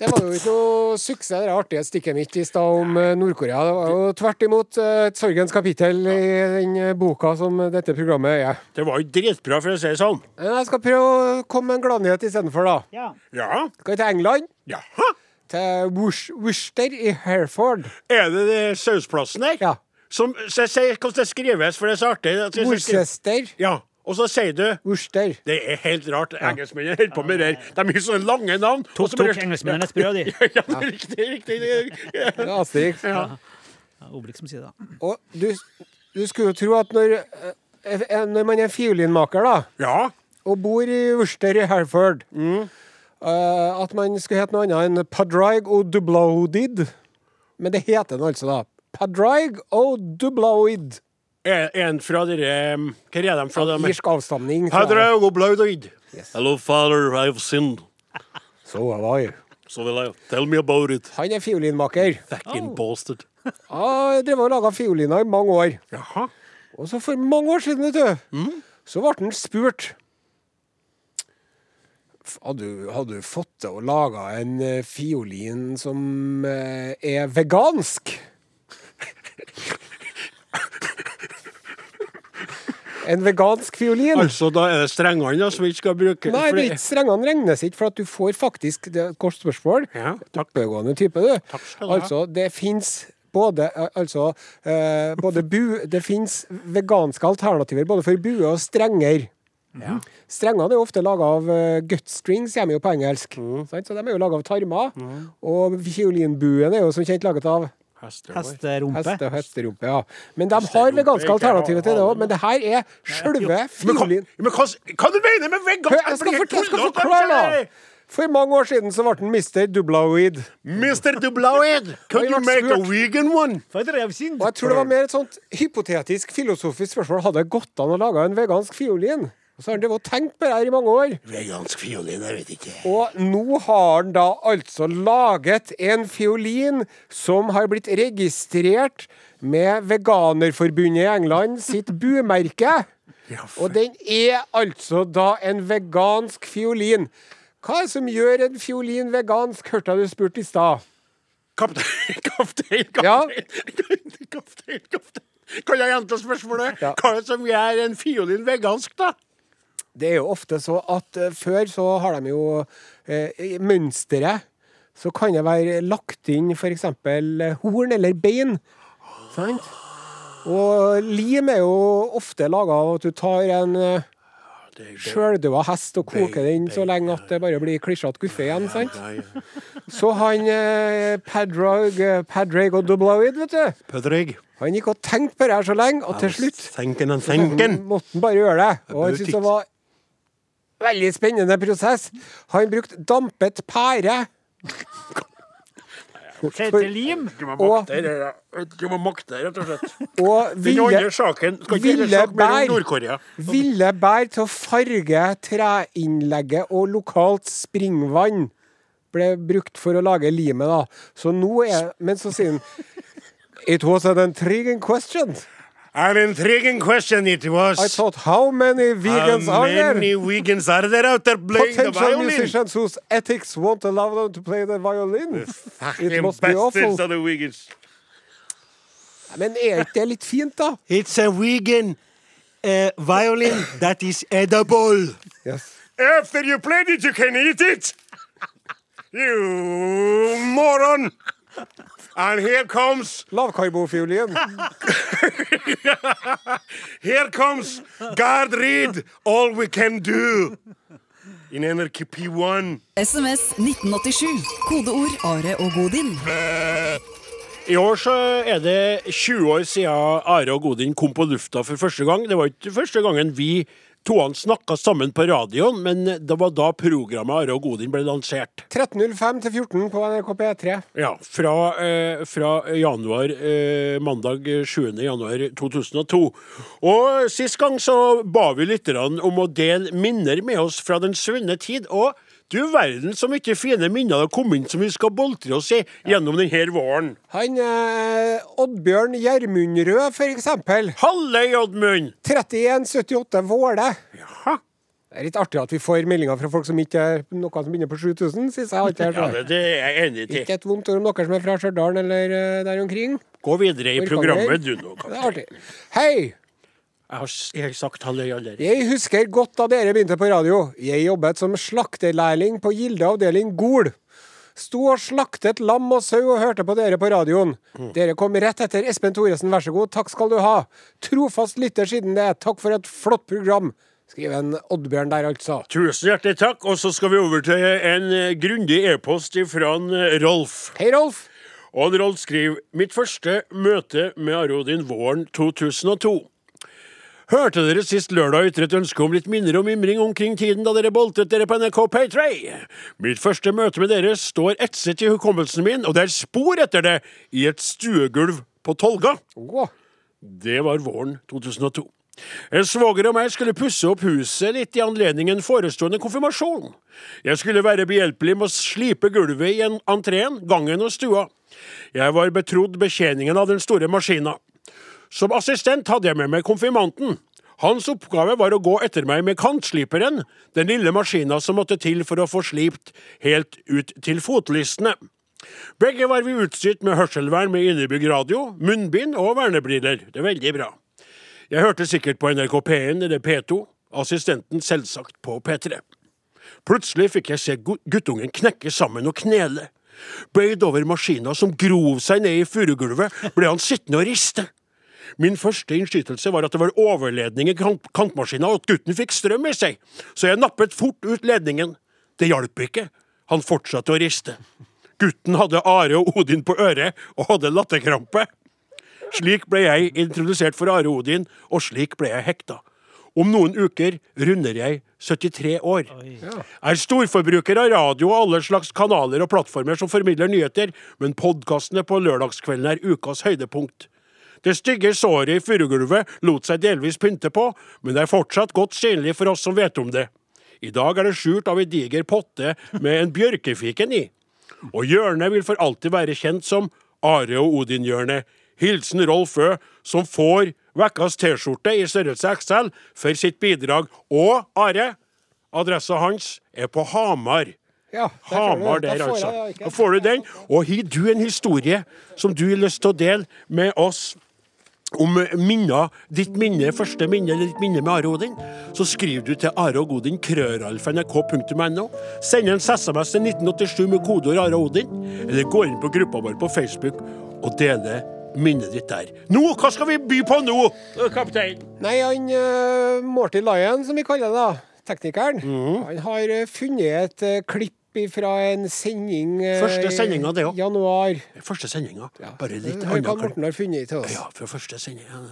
Det var jo ikke noe suksess, det artige stikket mitt i stad om eh, Nord-Korea. Det var jo tvert imot eh, et sorgens kapittel i den eh, boka som dette programmet er.
Det var jo dritbra, for å si det sånn.
Men jeg skal prøve å komme med en gladnyhet istedenfor, da.
Ja.
Ja.
Skal vi til England?
Jaha.
Til Wors- Worcester i Hereford.
Er det, det sausplassen der?
Ja.
Som, se, se, hvordan det skrives, for det er så artig. at jeg skal skrive-
Worcester.
Ja, og så sier du
Worcester.
Det er helt rart. Engelskmennene holder på med det her. De har sånne lange navn. og
Tok,
så
tok
bare-
engelskmennene et brød, de.
Ja, ja, det er riktig, riktig. det er-
Det er Asterix.
Ja, Obelix som sier det. da.
Og du, du skulle jo tro at når, eh, eh, når man er fiolinmaker, da,
Ja.
og bor i Worcester i Hereford eh, At man skulle hete noe annet enn Padraig o Dublaudid. Men det heter den altså, da. Padraig o Dublaud.
Er- En fra dere um, Hvor er de fra? dem?
Irsk avstamning. så er det.
Padraig og Blaudoid. Hello, father, I have sinned.
Så var jeg.
So will I. Tell me about it. Oh.
Han er fiolinmaker.
Fucking bastard.
Ah, jeg drev og laga fioliner i mange år.
Jaha.
Og så for mange år siden, vet du, så ble han spurt F- Hadde du, hadde du fått til å lage en eh, fiolin som eh, er vegansk? En vegansk fiolin?
Altså, da er det strengene da, som vi ikke skal bruke.
Nei,
for
det er ikke strengene regnes ikke, for at du får faktisk Det er et kort spørsmål.
Ja, takk.
Oppegående type, du.
skal du ha.
Altså, det fins både eh, Altså, eh, både bu Det fins veganske alternativer både for bue og strenger. Strengene er jo ofte laga av eh, gutstrings, kommer jo på engelsk.
Mm.
Sant? Så de er jo laga av tarmer. Og fiolinbuen er jo som kjent laget av
Hester.
Hesterumpe.
hest og hesterumpe. Ja. Men de har veganske
ikke
alternativer til det
hale,
òg. Men det her er sjølve
Men, hva,
fiolin...
men hva, hva du mener med vegan?
Hør, jeg skal, fort- jeg skal forklare, da! For mange år siden så ble han Mr. Dublaweed.
Mr. Dubloweid,
Oi,
can you
Lars
make a
Bjørk.
vegan one?
Og jeg tror det var mer et sånt hypotetisk, filosofisk spørsmål. Hadde det gått an å lage en vegansk fiolin? Og så har han drevet og tenkt på det her i mange år.
Vegansk fiolin, jeg vet ikke.
Og nå har han da altså laget en fiolin som har blitt registrert med Veganerforbundet i England sitt bumerke. Og den er altså da en vegansk fiolin. Hva er det som gjør en fiolin vegansk, hørte jeg du spurte i stad.
Kaptein, kaptein,
Ja.
kaptein. kaptein, kaptein. Kan jeg gjenta spørsmålet?
Ja.
Hva er det som gjør en fiolin vegansk, da?
Det er jo ofte så at eh, før så har de jo eh, i mønsteret. Så kan det være lagt inn f.eks. horn eller bein. Sant? Og lim er jo ofte laga av at du tar en eh, sjøldøa hest og koker den så lenge at det bare blir klissete guffe igjen. sant? Så han eh, Padraig, eh, Padraig og Dubloid, vet du
Pødrig.
Han gikk og tenkte på det her så lenge at til slutt
Thinking and thinking.
måtte han bare gjøre det. Og
bør
jeg synes det
titte.
var veldig spennende prosess. Han brukte dampet pære.
Kjente lim.
Du må
Og-
makte det, ja. du må makte det, rett og slett.
Og
Den
ville,
andre saken skal ikke heller
ville
snakke mer
bær.
om Nord-Korea.
ville bær til å farge treinnlegget og lokalt springvann ble brukt for å lage limet, da. Så nå er Men så sier han It was an intriguing question.
An intriguing question it was.
I thought how many vegans
How
are there?
many vegans are there out there playing the
Potential
violin?
musicians whose ethics won't allow them to play the violin. It must be awful.
Bastards of the Wiggins.
Men er ikke det litt fint, da?
It's a vegan
eh,
uh, violin that is edible.
Yes.
After you played it, you can eat it. You moron. And here comes,
Lavkarbofiolin.
here comes God read all we can do in NRK1.
SMS 1987. Kodeord Are og Odin.
I år så er det 20 år siden Are og Godin kom på lufta for første gang. Det var ikke første gangen vi toene snakka sammen på radioen, men det var da programmet Are og Godin ble lansert.
13.05 til 14 på NRK P3.
Ja, Fra, eh, fra januar, eh, mandag eh, 7. januar 2002. Og sist gang så ba vi lytterne om å dele minner med oss fra den svunne tid. og du verden så mye fine minner det kom inn som vi skal boltre oss i gjennom denne våren.
Han eh, Oddbjørn Gjermundrød, for eksempel.
Halle, Oddmund!
3178 Våle.
Jaha.
Det er litt artig at vi får meldinger fra folk som ikke er noe som begynner på 7000. Synes jeg alltid er
Ja,
sånn.
det, det er jeg enig i.
Ikke et vondt ord om dere som er fra Stjørdal eller eh, der omkring.
Gå videre i
Orkanger.
programmet, du nå.
Det
Kaptein.
er artig. Hei!
Jeg har, s- jeg har sagt halløy allerede.
Jeg husker godt da dere begynte på radio. Jeg jobbet som slakterlærling på Gilde avdeling Gol. Sto og slaktet lam og sau og hørte på dere på radioen.
Mm.
Dere kom rett etter Espen Thoresen, vær så god, takk skal du ha. Trofast lytter siden det, takk for et flott program. Skriver en Oddbjørn der, altså.
Tusen hjertelig takk. Og så skal vi over til en eh, grundig e-post fra en eh, Rolf.
Hei, Rolf.
Og han Rolf skriver Mitt første møte med Arodin våren 2002. Hørte dere sist lørdag ytre et ønske om litt minner og mimring omkring tiden da dere boltet dere på NRK P3? Mitt første møte med dere står etset i hukommelsen min, og det er spor etter det i et stuegulv på Tolga.
Å,
Det var våren 2002. En svoger og meg skulle pusse opp huset litt i anledning en forestående konfirmasjon. Jeg skulle være behjelpelig med å slipe gulvet i en- entreen, gangen og stua. Jeg var betrodd betjeningen av den store maskina. Som assistent hadde jeg med meg konfirmanten. Hans oppgave var å gå etter meg med kantsliperen, den lille maskina som måtte til for å få slipt helt ut til fotlistene. Begge var vi utstyrt med hørselvern med innebygd radio, munnbind og vernebriller. Det er veldig bra. Jeg hørte sikkert på NRK P1 eller P2, assistenten selvsagt på P3. Plutselig fikk jeg se gu- guttungen knekke sammen og knele. Bøyd over maskina som grov seg ned i furugulvet, ble han sittende og riste. Min første innskytelse var at det var overledning i kant kantmaskina, og at gutten fikk strøm i seg, så jeg nappet fort ut ledningen. Det hjalp ikke. Han fortsatte å riste. Gutten hadde Are og Odin på øret og hadde latterkrampe. Slik ble jeg introdusert for Are Odin, og slik ble jeg hekta. Om noen uker runder jeg 73 år. Er storforbruker av radio og alle slags kanaler og plattformer som formidler nyheter, men podkastene på lørdagskvelden er ukas høydepunkt. Det stygge såret i furugulvet lot seg delvis pynte på, men det er fortsatt godt synlig for oss som vet om det. I dag er det skjult av en diger potte med en bjørkefiken i. Og hjørnet vil for alltid være kjent som Are og Odin-hjørnet. Hilsen Rolf Ø, som får Vekkas T-skjorte i størrelse XL for sitt bidrag. Og Are, adressa hans er på Hamar.
Ja, der ser du.
Hamar
Da får
der,
jeg
altså.
da ikke-
Da får du den. Og har du en historie som du har lyst til å dele med oss om minner, ditt minne, første minne eller ditt minne med Are Odin, så skriver du til Are og Odin, krøralfa.nrk.no. Send en SMS til 1987 med kodeord Are Odin, eller gå inn på gruppa vår på Facebook og dele minnet ditt der. Nå, hva skal vi by på nå, kaptein?
Nei, han uh, Morty Lyon, som vi kaller det, da, teknikeren,
Mm.
han har eh, funnet et eh, klipp fra en sending eh,
Første sendinga, det
i
også.
Januar.
Første sendinga. Bare litt
Hør hva
annet.
Morten har funnet til oss.
Ja, fra første sendinga.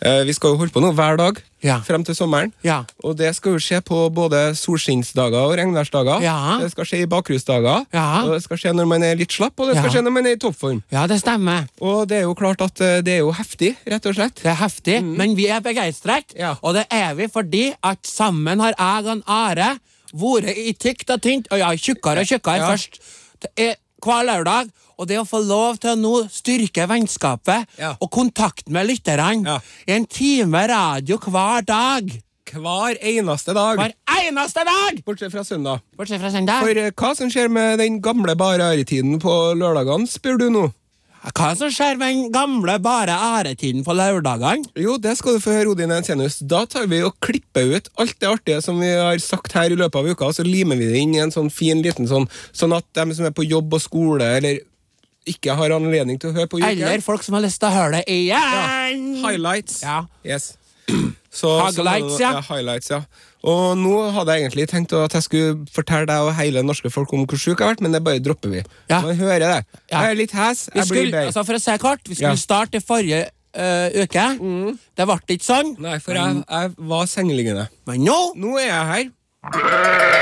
Eh, Vi skal jo holde på nå hver dag
Ja.
frem til sommeren.
Ja.
Og det skal jo skje på både solskinnsdager og regnværsdager.
Ja.
Det skal skje i bakrusdager.
Ja.
Og det skal skje når man er litt slapp, og det skal
Ja.
skje når man er i toppform.
Ja, det stemmer.
Og det er jo klart at eh, det er jo heftig, rett og slett. Mm.
Det er heftig, men vi er begeistret.
Ja.
Og det er vi fordi at sammen har jeg og en Are vært i tykt og tynt, og ja, tjukkere og tjukkere
Ja.
først t- eh, hver lørdag. Og det å få lov til å nå styrke vennskapet
Ja.
og kontakten med lytterne
Ja.
i en time radio hver dag.
Hver eneste dag.
Hver eneste dag!
Bortsett fra søndag.
Bortsett fra søndag.
For eh, hva som skjer med den gamle bare æretiden på lørdagene, spør du nå?
Hva er det som skjer med den gamle bare æretiden på lørdagene?
Jo, det skal du få høre, Odin Ensenius. Da tar vi og klipper ut alt det artige som vi har sagt her i løpet av uka, og så limer vi det inn i en sånn fin liten sånn, sånn at dem som er på jobb og skole, eller ikke har anledning til å høre på
Eller
uken
folk som har lyst til å høre det igjen?
Highlights.
Ja.
Yes. Så, så var det
Highlights,
noe-
ja.
ja. Highlights, ja. Og nå hadde jeg egentlig tenkt at jeg skulle fortelle deg og hele norske folk om hvor sjuk jeg har vært, men det bare dropper vi.
Ja.
Man hører det.
Ja.
Jeg er litt hes,
Vi
jeg blir
skulle,
bedre.
altså for å si det kort, vi
Ja. Mm.
skulle starte i forrige eh, uke. Det ble ikke sånn.
Nei, for jeg, jeg var sengeliggende.
Men nå
Mm. Nå er jeg her.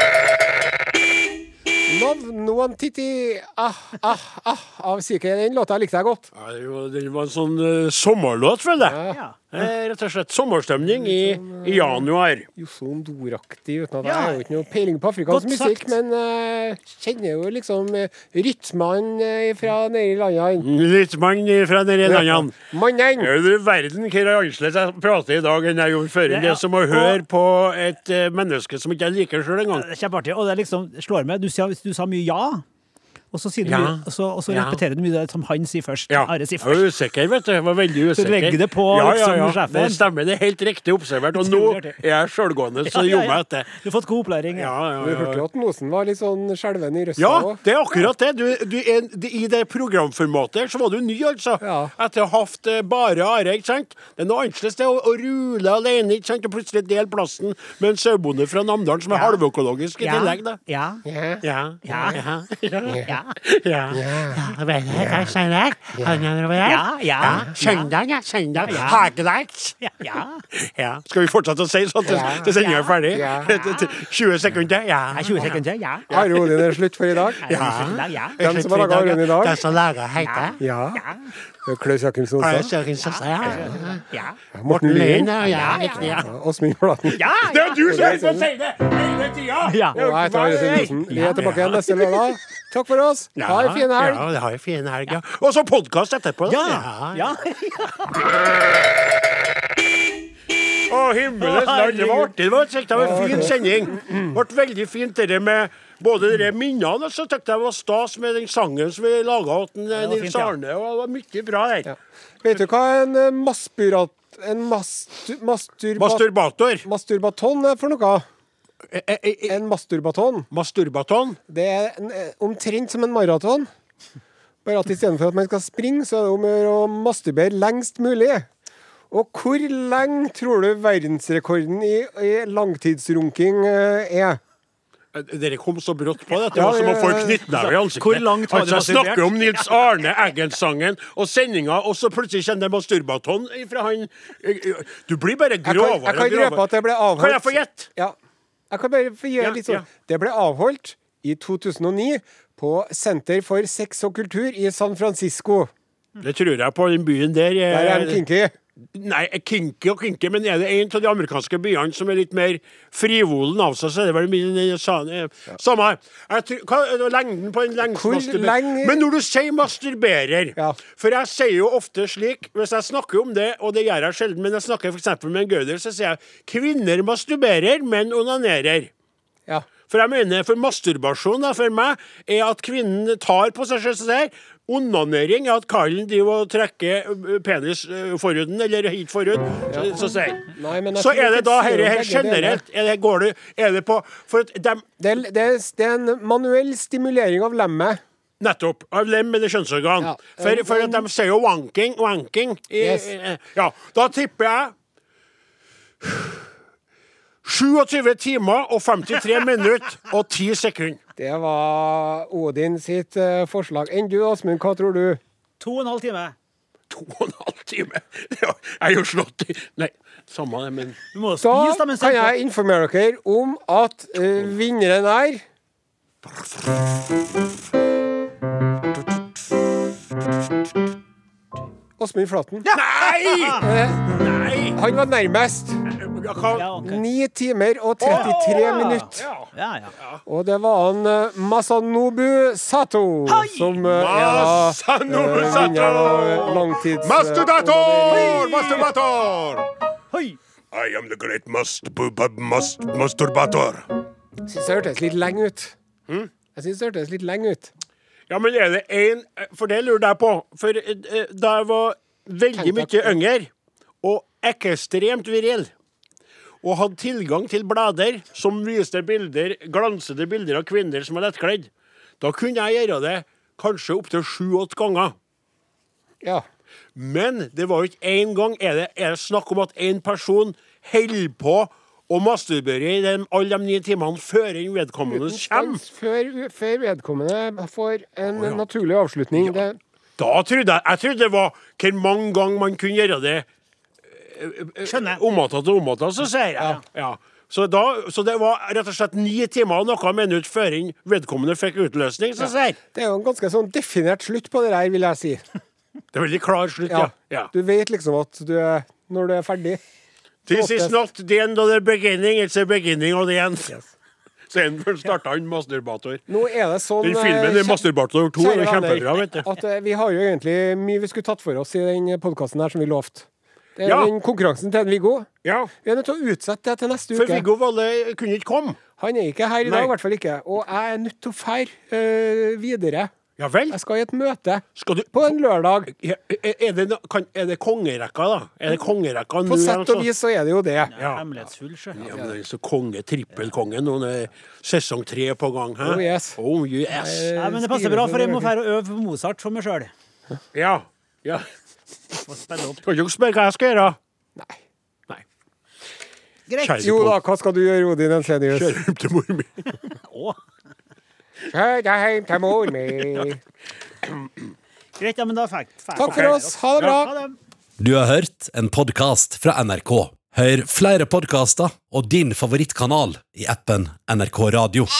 Love no one titty ah, ah, ah, av Sike. Den låta likte jeg godt.
Ja, det var- det var en sånn eh, sommerlåt, føler jeg.
Ja.
Eh, Rett og slett sommerstemning i, i januar.
Josson Dor-aktig, uten at
Ja.
jeg har jo ikke noe peiling på
Godt
afrikansk
sagt.
musikk, men eh, kjenner jo liksom eh, rytmene eh, fra nede i landene.
Litt mann fra nede Mm, i landet.
Mannen!
Er du verden hvor annerledes jeg prater i dag enn jeg gjorde før?
Det er-
Det er som å høre på et eh, menneske som ikke jeg liker sjøl engang.
Det er Kjempeartig. Og det er liksom slår meg. Du, sier- du sa mye ja, og så, sier du
Ja.
mye, og så, og så
Ja.
repeterer du mye det som han sier først.
Ja.
Are sier først.
Jeg var usikker, vet du. Jeg var veldig usikker.
legger det på,
ja, ja,
liksom,
ja.
sjefen.
Det stemmer. Det er helt riktig observert. Og nå
Utrolig artig.
er jeg sjølgående, så det
Ja, ja,
gjorde meg
ja.
etter.
Du har fått god opplæring.
Ja,
Ja.
Du
ja,
hørte
ja.
jo at Nosen var litt sånn skjelven i røsta
Ja,
òg.
det er akkurat det. Du, du, er- det- I det programformatet her så var du ny, altså.
Ja.
Etter å ha hatt eh, bare Are, ikke sant. Det er noe annerledes det å, å rule alene, ikke sant, og plutselig dele plassen med en sauebonde fra Namdalen som er halvøkologisk i
Ja.
tillegg, da.
Ja.
Ja.
Ja.
Ja.
Ja.
Ja.
Ja. Ja.
Søndag, ja. Søndag. Hagelaks.
Ja. ja.
Ja. Skal vi fortsette å si sånn til, til sendinga er ferdig? 20 sekunder? Ja.
Nei, 20 sekunder. Ja. Ja.
Are Odin er slutt for i dag.
Ja. Ja.
Hvem som har laga Are Odin i dag?
Den som laga heter
Ja. Det er Klaus Jakim Sonstad.
Ja.
Morten Lien.
ja.
Åsmund Flaten.
Det er du som holder på å si det hele tida!
Ja.
Og jeg tar Are Nosen. Vi er tilbake igjen neste lørdag. Takk for oss. Ha en fin helg.
Ja, ha en fin helg. Ja. Og så podkast etterpå.
Ja. ja.
Å, himmelens land. Det var artig. Det var, jeg det var en fin sending. Det ble veldig fint, det med både de minnene, og så syntes jeg det var stas med den sangen som vi laga til
var fint,
Nils
ja.
Arne. Og det var mye bra der.
Vet du hva en eh, masburat... En mastu, masturba,
Masturbator.
masturbaton er for noe?
Eh, eh, eh,
En masturbaton.
Masturbaton.
Det er en, eh, omtrent som en maraton. Bare at istedenfor at man skal springe, så er det om å gjøre å masturbere lengst mulig. Og hvor lenge tror du verdensrekorden i, i langtidsrunking eh, er?
Eh, Dere kom så brått på det at det
Ja,
var som å
ja,
få en
ja.
knyttneve i ansiktet.
Hvor langt var det
altså, jeg
masturbert?
snakker om Nils Arne Eggen-sangen og sendinga, og så plutselig kjenner jeg masturbaton fra han Du blir bare
Jeg kan, jeg
grovere
kan røpe at det ble avholdt
Kan jeg få gjette?
Ja. Jeg kan bare få gjøre
Ja,
litt sånn.
ja.
Det ble avholdt i 2009 på Senter for sex og kultur i San Francisco.
Det tror jeg på, den byen der. eh,
Der er de kinky.
Nei, kinky og kinky, men er det en av de amerikanske byene som er litt mer frivolen av seg, så er det vel min eh, sa- eh, Samme jeg tror, hva, er det Lengden på en
Hvor lenge-
lengdsmasturberer Men når du sier masturberer
Ja.
For jeg sier jo ofte slik Hvis jeg snakker om det, og det gjør jeg sjelden, men jeg snakker f.eks. med en gauder, så sier jeg kvinner masturberer, menn onanerer.
Ja.
For jeg mener, for masturbasjon da, for meg, er at kvinnen tar på seg selv sånn her. Onanering er at kallen driver og trekker ø, penis ø, forhuden, eller hit forhud. Så, så, sier jeg.
Nei, men jeg
så
tror
er
ikke
det da
det sier om
herre her
begge deler.
generelt. Er det, går det, er det på For at dem
Det, er- det, er- det er en manuell stimulering av lemmet.
Nettopp. Av lem eller kjønnsorgan.
Ja.
For, for at de sier jo wanking, wanking. I,
Yes.
i- ja, da tipper jeg 27 timer og 53 minutter og 10 sekunder.
Det var Odin sitt eh, forslag. Enn du, Åsmund, hva tror du?
To og en halv time.
To to og en halv time. Det er jo- Jeg er jo slått i Nei, samme det, men
Du må jo
Da
spise dem mens
kan jeg informere dere om at eh, vinneren er Åsmund Flaten.
Nei!
Eh,
Nei!
Han var nærmest.
Ja, hva-
Ja, ok.
9 timer og 33 minutter.
ja, ja.
Og det var han eh, Masanobu Sato som eh, er da
Masanobu
eh,
Sato!
vinneren av langtids... eh,
Masturbator! Masturbator!
Hoi!
I am the great masturb- mast- masturbator.
Jeg syns det hørtes litt lenge ut.
Hm?
Jeg syns det hørtes litt lenge ut.
Ja, men er det én For det lurer jeg på. For eh, da jeg var veldig
Tenkte jeg
mye yngre og ekstremt viril og hadde tilgang til blader som viste bilder, glansede bilder av kvinner som er lettkledd, da kunne jeg gjøre det kanskje opptil sju-åtte ganger.
Ja.
Men det var jo ikke én gang er det, er det snakk om at én person holder på å masturbere i dem, alle de ni timene før den vedkommende kommer.
Stans Før, før vedkommende får en naturlig avslutning. Det,
Da trodde jeg, jeg trodde det var hvor mange ganger man kunne gjøre det
Skjønner.
omatta til omatta, så sier jeg. Ja. Så, da, så det var rett og slett ni timer og noe minutt før den vedkommende fikk utløsning, så sier jeg.
det er jo en ganske sånn definert slutt på det der, vil jeg si.
Det er veldig klar slutt, ja.
Ja.
ja.
Du vet liksom at du er Når du er ferdig.
This is not the end of the beginning, it's the beginning of the end. Så en starta han masturbator.
Nå er det sånn
Den filmen
eh,
er Masturbator 2
kjære
er jo
venner,
kjempebra, vet du.
At eh, vi har jo egentlig mye vi skulle tatt for oss i den podkasten her som vi lovte. Det er
Ja.
den konkurransen til en Viggo.
Ja.
Vi er nødt til å utsette det til neste uke.
For Viggo Valle kunne ikke komme.
Han er ikke her i
Nei.
dag, i hvert fall ikke. Og jeg er nødt til å fære eh, videre.
Ja vel?
Jeg skal i et møte
Skal du
på en lørdag.
Ja, Er er det, no- kan, er det kongerekka, da? Er det kongerekka nå?
På sett
altså?
og vis så er det jo det.
Hemmelighetsfull, sjø.
Ja, men det er så konge, trippelkonge. Noen er sesong tre på gang. Hæ?
Oh, yes. Eh.
Oh, yes.
Nei, men det passer bra, for jeg må fære og øve på Mozart for meg sjøl.
Ja. ja. Kan du ikke spørre hva jeg skal gjøre?
Nei.
Greit.
Kjære
Jo da,
på-
hva skal du gjøre, Odin Ensenius?
Kjære hjem til mor mi.
Å,
Kjør deg hjem til mor mi.
greit, ja, men da fikk fikk-
Takk for oss. Ha det bra.
Ha det.
Du har hørt en podkast fra NRK. Hør flere podkaster og din favorittkanal i appen NRK Radio.